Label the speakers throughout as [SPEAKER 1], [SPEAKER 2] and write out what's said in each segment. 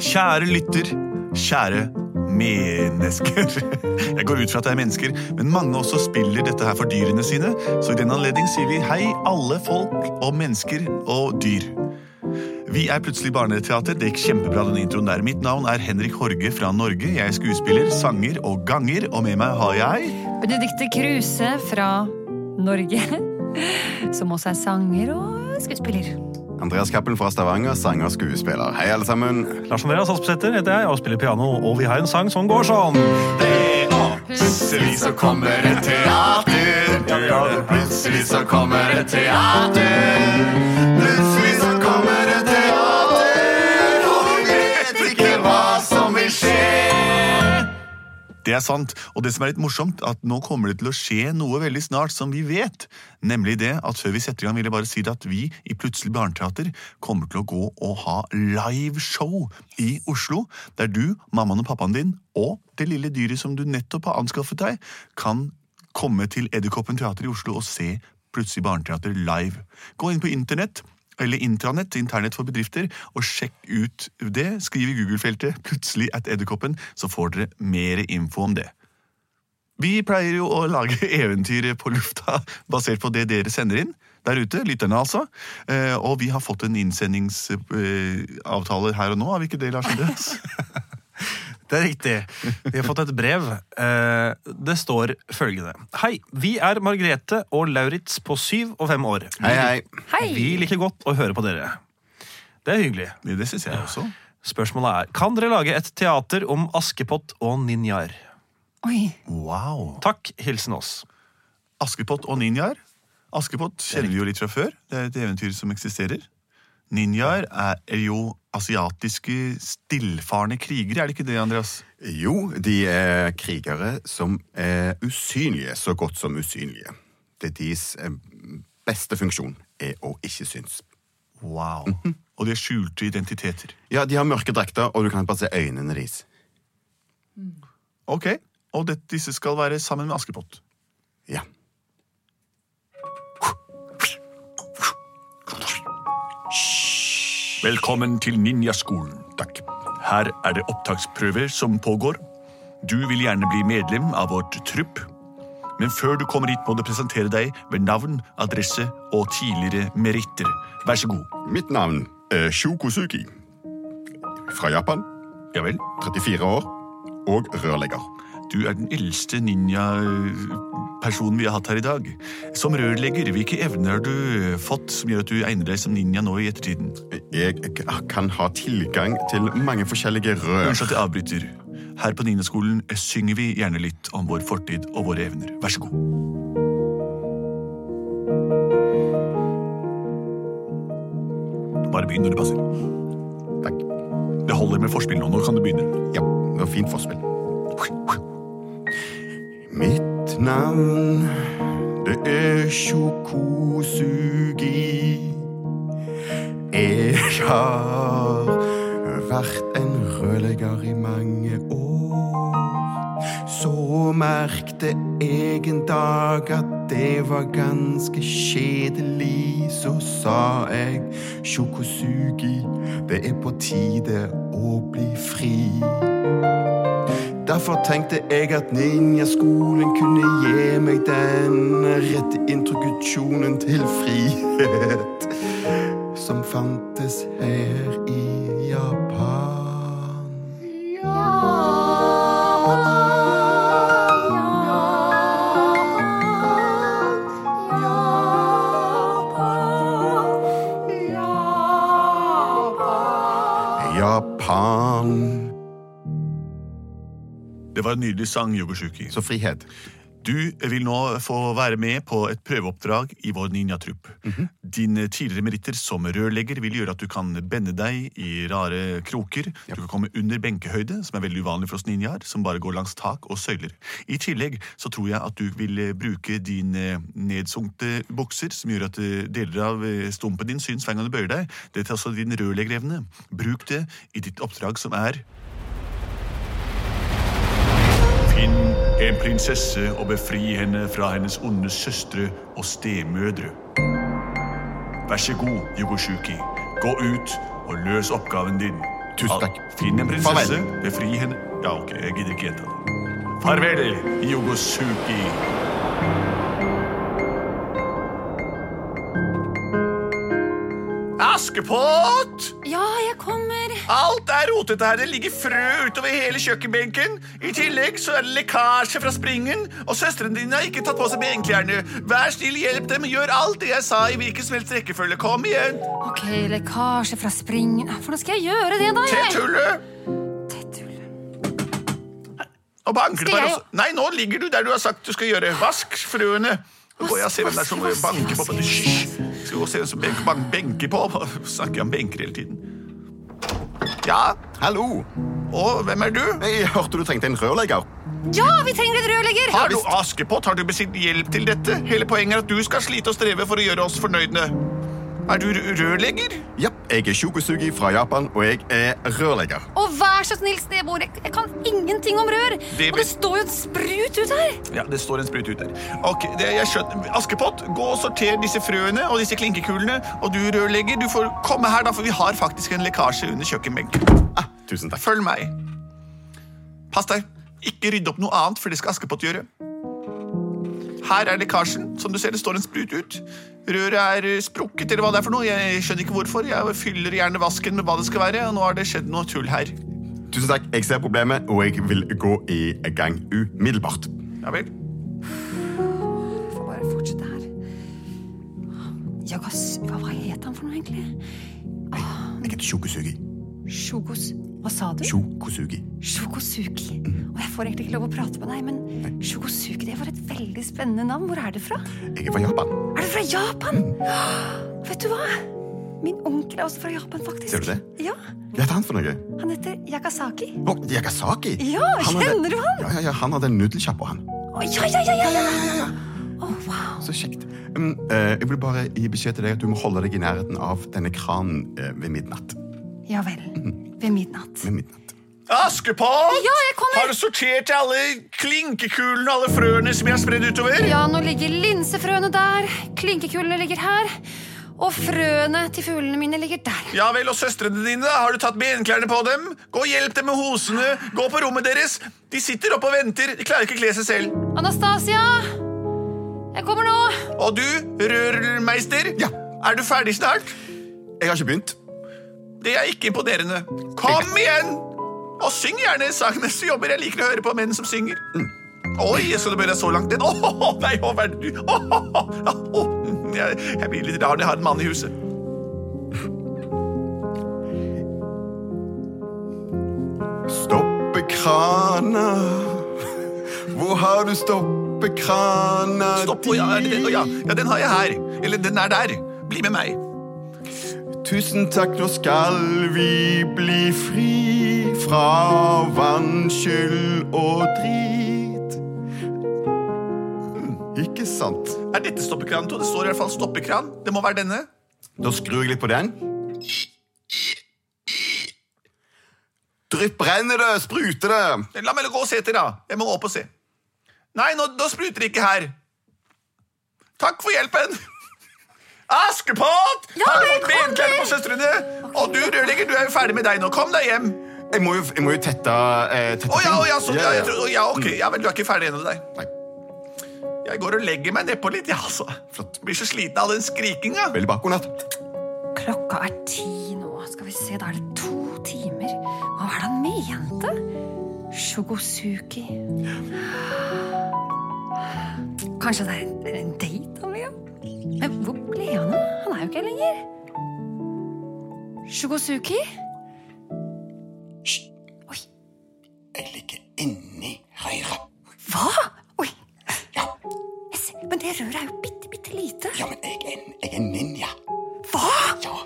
[SPEAKER 1] Kjære lytter, kjære mennesker. Jeg går ut fra at det er mennesker, men mange også spiller dette her for dyrene sine, så i den anledning sier vi hei alle folk og mennesker og dyr. Vi er plutselig barneteater. Det gikk kjempebra, den introen der. Mitt navn er Henrik Horge fra Norge. Jeg er skuespiller, sanger og ganger, og med meg har jeg
[SPEAKER 2] Benedicte Kruse fra Norge, som også er sanger og skuespiller.
[SPEAKER 3] Andreas Cappelen fra Stavanger, sanger og skuespiller. Hei, alle sammen.
[SPEAKER 4] Lars Andreas Aspesæter heter jeg og spiller piano, og vi har en sang som går sånn.
[SPEAKER 3] Plutselig så kommer et teater. Ja, ja, Plutselig så kommer et teater. Plutselig så kommer et teater, og vi vet ikke hva som vil skje.
[SPEAKER 1] Det er sant, og det som er litt morsomt, at nå kommer det til å skje noe veldig snart som vi vet, nemlig det at før vi setter i gang, vil jeg bare si det at vi i Plutselig barneteater kommer til å gå og ha liveshow i Oslo, der du, mammaen og pappaen din, og det lille dyret som du nettopp har anskaffet deg, kan komme til Edderkoppen teater i Oslo og se Plutselig barneteater live. Gå inn på internett, eller intranett, internett for bedrifter, og sjekk ut det. Skriv i Google-feltet 'plutselig at Edderkoppen', så får dere mer info om det. Vi pleier jo å lage eventyr på lufta basert på det dere sender inn der ute, lytterne altså. Eh, Og vi har fått en innsendingsavtale her og nå, har vi ikke det, Lars Andreas?
[SPEAKER 4] Det er riktig. Vi har fått et brev. Eh, Det står følgende. Hei, vi er Margrethe og Lauritz på syv og fem år.
[SPEAKER 3] Hei, hei.
[SPEAKER 2] Hei!
[SPEAKER 4] Vi liker godt å høre på dere. Det er hyggelig.
[SPEAKER 1] Ja, Det syns jeg også.
[SPEAKER 4] Spørsmålet er, kan dere lage et teater om Askepott og ninjaer?
[SPEAKER 2] Oi,
[SPEAKER 1] Wow.
[SPEAKER 4] Takk, hilsen oss.
[SPEAKER 1] Askepott og ninjaer. Askepott kjenner vi jo litt fra før. Det er et eventyr som eksisterer. Ninjaer er jo asiatiske stillfarne krigere, er det ikke det, Andreas?
[SPEAKER 3] Jo, de er krigere som er usynlige, så godt som usynlige. Det er deres eh, beste funksjon er å ikke synes.
[SPEAKER 1] Wow. Og de er skjulte identiteter.
[SPEAKER 3] Ja, de har mørke drakter, og du kan bare se øynene deres.
[SPEAKER 1] Ok, Og det, disse skal være sammen med Askepott.
[SPEAKER 3] Ja.
[SPEAKER 1] Velkommen til ninjaskolen. Takk. Her er det opptaksprøver som pågår. Du vil gjerne bli medlem av vårt trupp. Men før du kommer hit, må du presentere deg ved navn, adresse og tidligere meritter. Vær så god.
[SPEAKER 3] Mitt navn er Shukosuki. Fra Japan.
[SPEAKER 1] Ja vel.
[SPEAKER 3] 34 år. Og rørlegger.
[SPEAKER 1] Du er den eldste ninja-personen vi har hatt her i dag. Som rørlegger, hvilke evner har du eh, fått som gjør at du egner deg som ninja nå i ettertiden?
[SPEAKER 3] Jeg k- kan ha tilgang til mange forskjellige rør.
[SPEAKER 1] Unnskyld at jeg avbryter. Her på Ninaskolen synger vi gjerne litt om vår fortid og våre evner. Vær så god. Bare begynn når det passer.
[SPEAKER 3] Takk.
[SPEAKER 1] Det holder med forspill nå. Nå kan du begynne.
[SPEAKER 3] Ja, det var fint forspill. Mitt navn det er Shokosugi. Jeg har vært en rødlegger i mange år. Så merkte jeg en dag at det var ganske kjedelig. Så sa jeg Shokosugi, det er på tide å bli fri. Derfor tenkte jeg at ninjaskolen kunne gi meg den rette introduksjonen til frihet som fantes her i Japan. Japan.
[SPEAKER 1] Det var en nydelig sang, Yogoshuki.
[SPEAKER 3] Så frihet.
[SPEAKER 1] Du vil nå få være med på et prøveoppdrag i vår ninjatrupp. Dine tidligere meritter som rørlegger vil gjøre at du kan bende deg i rare kroker. Du kan komme under benkehøyde, som er veldig uvanlig for oss ninjaer, som bare går langs tak og søyler. I tillegg så tror jeg at du vil eh, bruke dine nedsunkte bukser, som gjør at eh, deler av eh, stumpen din syns hver gang du bøyer deg. Det er også din rørleggerevne. Bruk det i ditt oppdrag, som er Finn en prinsesse og befri henne fra hennes onde søstre og stemødre. Vær så god, Yogoshuki. Gå ut og løs oppgaven din.
[SPEAKER 3] Tusen takk.
[SPEAKER 1] Finn en prinsesse,
[SPEAKER 3] Farvel.
[SPEAKER 1] befri henne Ja, ok, jeg gidder ikke gjenta det. Farvel, Yogosuki. Askepott!
[SPEAKER 2] Ja, jeg kommer.
[SPEAKER 1] Alt er rotete her. Det ligger frø utover hele kjøkkenbenken. I tillegg så er det lekkasje fra springen, og søstrene dine har ikke tatt på seg benklærne. Vær snill, hjelp dem. Gjør alt det jeg sa i hvilken som helst rekkefølge. Kom igjen.
[SPEAKER 2] Ok, lekkasje fra springen. Hvordan skal jeg gjøre det, da?
[SPEAKER 1] Tett
[SPEAKER 2] jeg?
[SPEAKER 1] hullet.
[SPEAKER 2] Tettull.
[SPEAKER 1] Og banker
[SPEAKER 2] Skal
[SPEAKER 1] bare
[SPEAKER 2] jeg-
[SPEAKER 1] også. Nei, nå ligger du der du har sagt du skal gjøre. Vask frøene. Nå går jeg og ser hvem det er som
[SPEAKER 2] Vask, vask,
[SPEAKER 1] banker på.
[SPEAKER 2] vask,
[SPEAKER 1] Hysj! Skal gå og se hvem som benker, bank, benker på. Snakker jeg om benker hele tiden. Ja,
[SPEAKER 3] Hallo.
[SPEAKER 1] og hvem er du?
[SPEAKER 3] Jeg hørte du trengte en rørlegger.
[SPEAKER 2] Ja, vi trenger en rørlegger!
[SPEAKER 1] Har du Askepott, har du bestilt hjelp til dette? Hele poenget er at du skal slite og streve for å gjøre oss fornøyde. Er du r- rørlegger?
[SPEAKER 3] Ja, jeg er Shugosugi fra Japan, og jeg er rørlegger.
[SPEAKER 2] Og vær så snill, snebror, jeg, jeg kan ingenting om rør!
[SPEAKER 1] Det vet-
[SPEAKER 2] og det står jo en sprut ut her!
[SPEAKER 1] Ja, det står en sprut ut der. Ok, det, jeg skjønner. Askepott, gå og sorter disse frøene og disse klinkekulene. Og du, rørlegger, du får komme her, da, for vi har faktisk en lekkasje under kjøkkenbenken.
[SPEAKER 3] Ah, tusen takk.
[SPEAKER 1] Følg meg. Pass deg. Ikke rydd opp noe annet, for det skal Askepott gjøre. Her er lekkasjen. Som du ser, det står en sprut ut. Røret er eh, sprukket, eller hva det er for noe. Jeg skjønner ikke hvorfor. Jeg fyller gjerne vasken med hva det skal være, og nå har det skjedd noe tull her.
[SPEAKER 3] Tusen takk, Jeg ser problemet, og jeg vil gå i gang umiddelbart.
[SPEAKER 1] Ja vel.
[SPEAKER 2] Vi får bare fortsette her. Jagas, hva, hva het han for noe, egentlig?
[SPEAKER 3] Jeg heter Shugosugi.
[SPEAKER 2] Sjogos Hva sa du?
[SPEAKER 3] Shugosugi.
[SPEAKER 2] Sjokosuki.
[SPEAKER 3] Mm.
[SPEAKER 2] Og jeg får egentlig ikke lov å prate med deg, men Sjokosuki, det var et veldig spennende navn. Hvor er det fra?
[SPEAKER 3] Jeg er fra Japan.
[SPEAKER 2] Er det fra Japan? Vet du hva? Min onkel er også fra Japan, faktisk.
[SPEAKER 3] Mm. Ser du det?
[SPEAKER 2] Ja,
[SPEAKER 3] Hva heter han for noe?
[SPEAKER 2] Han heter Yakasaki.
[SPEAKER 3] Å, Yakasaki.
[SPEAKER 2] Ja, kjenner du han?
[SPEAKER 3] Ja, ja, ja, Han hadde en nudelsjappa, han.
[SPEAKER 2] Å, ja, ja, ja, ja, ja! Å, wow.
[SPEAKER 3] Så kjekt. Um, eh, jeg vil bare gi beskjed til deg at du må holde deg i nærheten av denne kranen eh, ved midnatt.
[SPEAKER 2] Ja vel.
[SPEAKER 3] Mm.
[SPEAKER 2] Ved midnatt.
[SPEAKER 3] Ved midnatt.
[SPEAKER 1] Askepott!
[SPEAKER 2] Ja, jeg kommer.
[SPEAKER 1] Har du sortert alle klinkekulene og alle frøene som jeg har spredd
[SPEAKER 3] Mm.
[SPEAKER 1] utover?
[SPEAKER 2] Ja, nå ligger linsefrøene der, klinkekulene ligger her, og frøene til fuglene mine ligger der.
[SPEAKER 1] Ja vel, og søstrene dine, da? Har du tatt benklærne på dem? Gå og hjelp dem med hosene. Gå på rommet deres. De sitter oppe og venter. De klarer ikke å kle seg selv.
[SPEAKER 2] Anastasia! Jeg kommer nå!
[SPEAKER 1] Og du, rørmeister,
[SPEAKER 3] Ja.
[SPEAKER 1] er du ferdig snart?
[SPEAKER 3] Jeg har ikke begynt.
[SPEAKER 1] Det er ikke imponerende. Kom igjen! Og syng gjerne sangenes jobber. Jeg liker å høre på menn som synger. Oi, så du bør jeg så langt ned? Åh, nei, åh, hva er det du? Åh, åh, åh. Jeg, jeg blir litt rar når jeg har en mann i huset.
[SPEAKER 3] Stoppekrana. Hvor har du stoppekrana
[SPEAKER 1] Stopp, å, ja, er det den? Å, ja. ja, den har jeg her. Eller den er der. Bli med meg.
[SPEAKER 3] Tusen takk, nå skal vi bli fri fra vannskyld og drit. Mm, Ikke sant?
[SPEAKER 1] Er dette stoppekran, Tor? Det står i hvert fall stoppekran. Det må være denne.
[SPEAKER 3] Da skrur jeg litt på den. Drypp brenner det, spruter det.
[SPEAKER 1] La meg gå og se etter, da. Jeg må opp og se. Nei, nå, nå spruter det ikke her. Takk for hjelpen. Askepott!
[SPEAKER 2] Ja,
[SPEAKER 1] Har du
[SPEAKER 2] jeg
[SPEAKER 1] fått
[SPEAKER 2] kommer.
[SPEAKER 1] benklærne på søstrene? Og du, rørlegger, du er jo ferdig med deg nå. Kom deg hjem.
[SPEAKER 3] Jeg må jo, jeg må jo tette, eh, tette
[SPEAKER 1] Å ja,
[SPEAKER 3] ting.
[SPEAKER 1] å ja, sånn.
[SPEAKER 3] Ja,
[SPEAKER 1] Ja,
[SPEAKER 3] ja.
[SPEAKER 1] jeg tror, å, ja, ok. Ja, men du er ikke ferdig ennå, deg.
[SPEAKER 3] Nei,
[SPEAKER 1] Jeg går og legger meg nedpå litt, jeg, ja, altså.
[SPEAKER 3] Flott.
[SPEAKER 1] Blir så sliten av den skrikinga.
[SPEAKER 3] veldig bakgrunnert.
[SPEAKER 2] Klokka er ti nå. Skal vi se, da er det to timer. Hva var det han mente? Shogosuki Kanskje det er en date han vil ha? Men hvor ble han av? Han er jo ikke her lenger. Shogosuki? Oi,
[SPEAKER 3] Jeg ligger inni røret.
[SPEAKER 2] hva? Oi! Jeg ser- Men det røret er jo bitte, bitte lite.
[SPEAKER 3] Ja, men jeg er, en- jeg er ninja.
[SPEAKER 2] Hva?
[SPEAKER 3] Ja,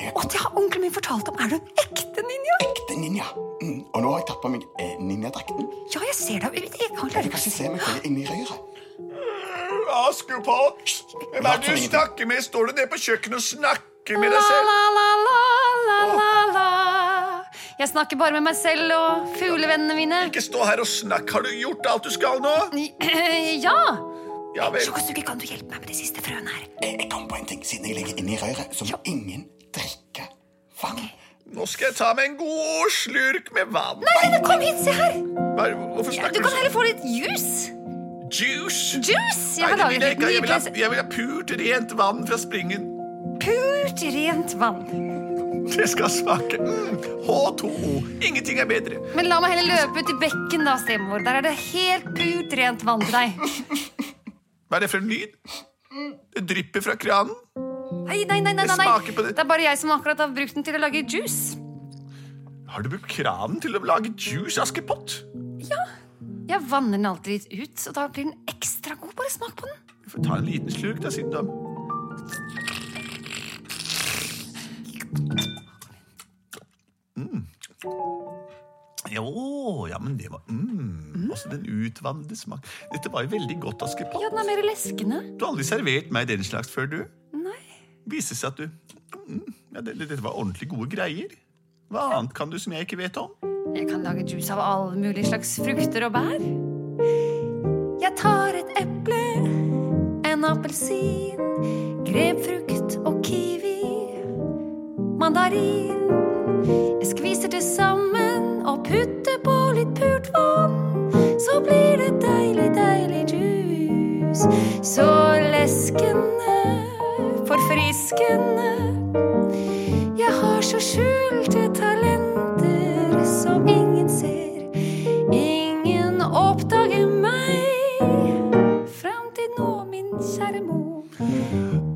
[SPEAKER 3] jeg
[SPEAKER 2] Og det har onkelen min fortalt om. Er du en ekte ninja?
[SPEAKER 3] ekte ninja. Mm. Og nå har jeg tatt på meg eh, ninjadrakten.
[SPEAKER 2] Ja, jeg ser deg. Jeg jeg kan klare
[SPEAKER 3] Du kan
[SPEAKER 2] ikke å
[SPEAKER 3] ikke
[SPEAKER 2] se
[SPEAKER 3] se meg, for jeg er inni røret.
[SPEAKER 1] Askepott! Hvem er det du snakker med? Står du nede på kjøkkenet og snakker med deg
[SPEAKER 2] La,
[SPEAKER 1] selv?
[SPEAKER 2] la, la, la, la, la, la. Jeg snakker bare med meg selv og fuglevennene mine.
[SPEAKER 1] Ikke stå her og snakk. Har du gjort alt du skal nå?
[SPEAKER 2] Ja!
[SPEAKER 1] Ja vel.
[SPEAKER 2] Sjokosuke, kan du hjelpe meg med de siste
[SPEAKER 3] Eh,
[SPEAKER 2] frøene her?
[SPEAKER 3] Jeg, jeg kom på en ting siden jeg ligger inni røret, så må ingen drikke vann
[SPEAKER 1] Nå skal jeg ta meg en god slurk med vann.
[SPEAKER 2] Nei, kom hit, se her!
[SPEAKER 1] Hva er- Hvorfor
[SPEAKER 2] Ja,
[SPEAKER 1] snakker
[SPEAKER 2] du
[SPEAKER 1] du
[SPEAKER 2] kan
[SPEAKER 1] sånn?
[SPEAKER 2] heller få litt juice.
[SPEAKER 1] Juice! Nei,
[SPEAKER 2] Juice!
[SPEAKER 1] det vil
[SPEAKER 2] Jeg beklager.
[SPEAKER 1] jeg ikke. Jeg vil, ha,
[SPEAKER 2] Nydelig.
[SPEAKER 1] jeg vil ha purt, rent vann fra springen.
[SPEAKER 2] Purt rent vann.
[SPEAKER 1] Det skal smake mm, H2O. Ingenting er bedre.
[SPEAKER 2] Men la meg heller løpe ut i bekken, da, stemor. Der er det helt purt rent vann til deg.
[SPEAKER 1] Hva er det for en lyd?
[SPEAKER 2] Mm.
[SPEAKER 1] Det drypper fra kranen.
[SPEAKER 2] Nei, nei, nei, nei,
[SPEAKER 1] Det
[SPEAKER 2] nei.
[SPEAKER 1] smaker på det.
[SPEAKER 2] Det er bare jeg som akkurat har brukt den til å lage juice.
[SPEAKER 1] Har du brukt kranen til å lage juice, Askepott?
[SPEAKER 2] Jeg vanner den alltid litt ut, og da blir den ekstra god. Bare smak på den.
[SPEAKER 1] Vi får ta en liten slurk, da, siden du Mm. Jo, ja, men det var mm. Altså, den utvannede smak. Dette var jo veldig godt, Askepott.
[SPEAKER 2] Ja, den er mer leskende.
[SPEAKER 1] Du har aldri servert meg den slags før, du.
[SPEAKER 2] Nei.
[SPEAKER 1] Viser seg at du mm, ja, det, Dette var ordentlig gode greier. Hva annet kan du som jeg ikke vet om?
[SPEAKER 2] Jeg kan lage juice av alle mulige slags frukter og bær. Jeg tar et eple, en appelsin, grepfrukt og kiwi, mandarin. Jeg skviser det sammen og putter på litt purt vann. Så blir det deilig, deilig juice. Så leskende, forfriskende. Jeg har så skjulte talenter som ingen ser. Ingen oppdager meg. Fram til nå, min kjære mor.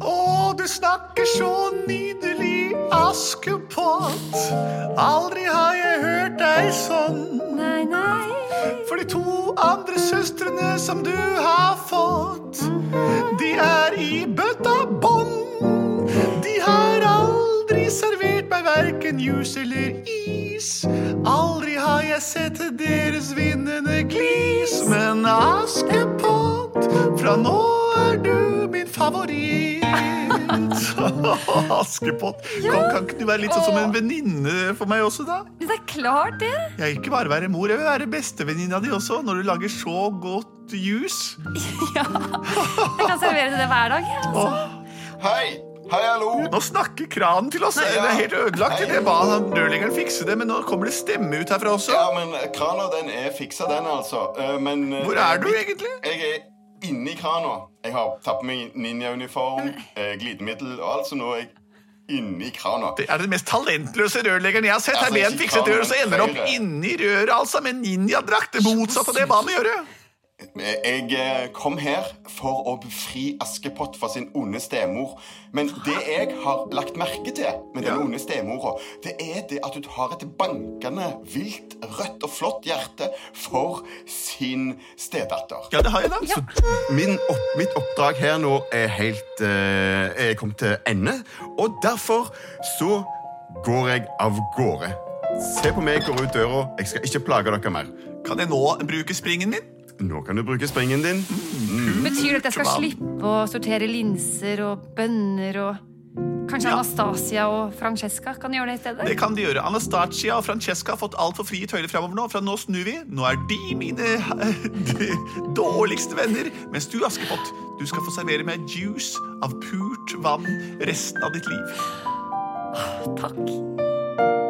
[SPEAKER 1] Å, du snakker så nydelig, Askepott. Aldri har jeg hørt deg sånn.
[SPEAKER 2] Nei, nei.
[SPEAKER 1] For de to andre søstrene som du har fått, de er i bøtta bånn. De har aldri servert meg verken juice eller is. Aldri har jeg sett deres vinnende glis. Men Askepott, fra nå er du min favoritt. Askepott, kan, kan ikke du være litt sånn som en venninne for meg også, da?
[SPEAKER 2] Det er klart, det.
[SPEAKER 1] Jeg vil ikke bare være mor, jeg vil være bestevenninna di også, når du lager så godt juice.
[SPEAKER 2] Ja. Jeg kan servere til det hver dag. jeg, Altså.
[SPEAKER 3] Hei! Hei, hallo!
[SPEAKER 1] Nå snakker kranen til oss! det er helt ødelagt. Jeg ba han rørleggeren fikse det, men nå kommer det stemme ut herfra også.
[SPEAKER 3] Ja, men eh, krana, den er fiksa, den, altså. Eh, Men eh,
[SPEAKER 1] Hvor er du egentlig?
[SPEAKER 3] Jeg er inni krana. Jeg har tatt på meg ninjauniform, eh, glidemiddel og alt, så nå er jeg inni krana.
[SPEAKER 1] Det er den mest talentløse rørleggeren jeg har sett. Her
[SPEAKER 3] Altså,
[SPEAKER 1] ber han
[SPEAKER 3] ikke
[SPEAKER 1] fikse et rør, og så ender det opp
[SPEAKER 3] kranen,
[SPEAKER 1] inni røret, altså, med ninjadrakt. Det motsatte av det jeg ba han gjøre.
[SPEAKER 3] Eh, Jeg eh, kom her for å befri Askepott fra sin onde stemor. Men det jeg har lagt merke til med den
[SPEAKER 1] Ja.
[SPEAKER 3] onde stemora, det er det at hun har et bankende, vilt, rødt og flott hjerte for sin stedatter.
[SPEAKER 1] Ja, det har jeg, da. Så
[SPEAKER 5] Min opp, mitt oppdrag her nå er helt eh, Er kommet til ende. Og derfor så går jeg av gårde. Se på meg, går ut døra. Jeg skal ikke plage dere mer.
[SPEAKER 1] kan jeg nå bruke springen min?
[SPEAKER 5] Nå kan du bruke springen din.
[SPEAKER 2] Betyr det at jeg skal
[SPEAKER 1] Kebab.
[SPEAKER 2] slippe å sortere linser og bønner og Kanskje Anastasia og Francesca kan gjøre det i stedet?
[SPEAKER 1] Det kan de gjøre. Anastacia og Francesca har fått altfor frie tøyler fremover nå. Fra nå snur vi. Nå er de mine de dårligste venner. Mens du, Askepott, du skal få servere meg juice av purt vann resten av ditt liv.
[SPEAKER 2] Takk.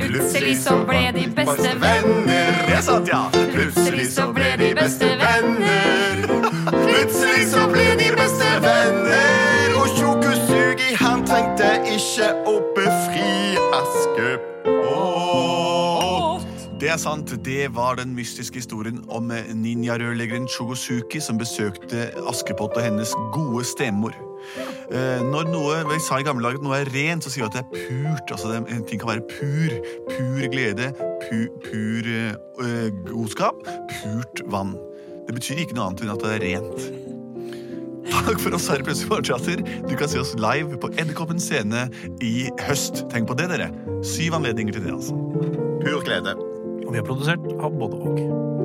[SPEAKER 2] Plutselig så ble de beste venner.
[SPEAKER 1] Det er sant, ja.
[SPEAKER 2] Plutselig så ble de beste venner.
[SPEAKER 5] Plutselig så ble de beste venner, og Tjokosugi han trengte ikke å befri Askepott.
[SPEAKER 1] Det er sant. Det var den mystiske historien om eh, ninjarørleggeren Chogosuki som besøkte Askepott og hennes gode stemor. Eh, Når noe vi sa i gamle dager at noe er rent, så sier vi at det er purt. Altså det, en ting kan være pur. Pur glede, pu, pur eh, eh, godskap, purt vann. Det betyr ikke noe annet enn at det er rent. Takk for oss her i Plutselig barneteater. Du kan se oss live på Edderkoppen scene i høst. Tenk på det, dere. Syv anledninger til det, altså.
[SPEAKER 5] Pur glede.
[SPEAKER 4] Og vi har produsert av både og.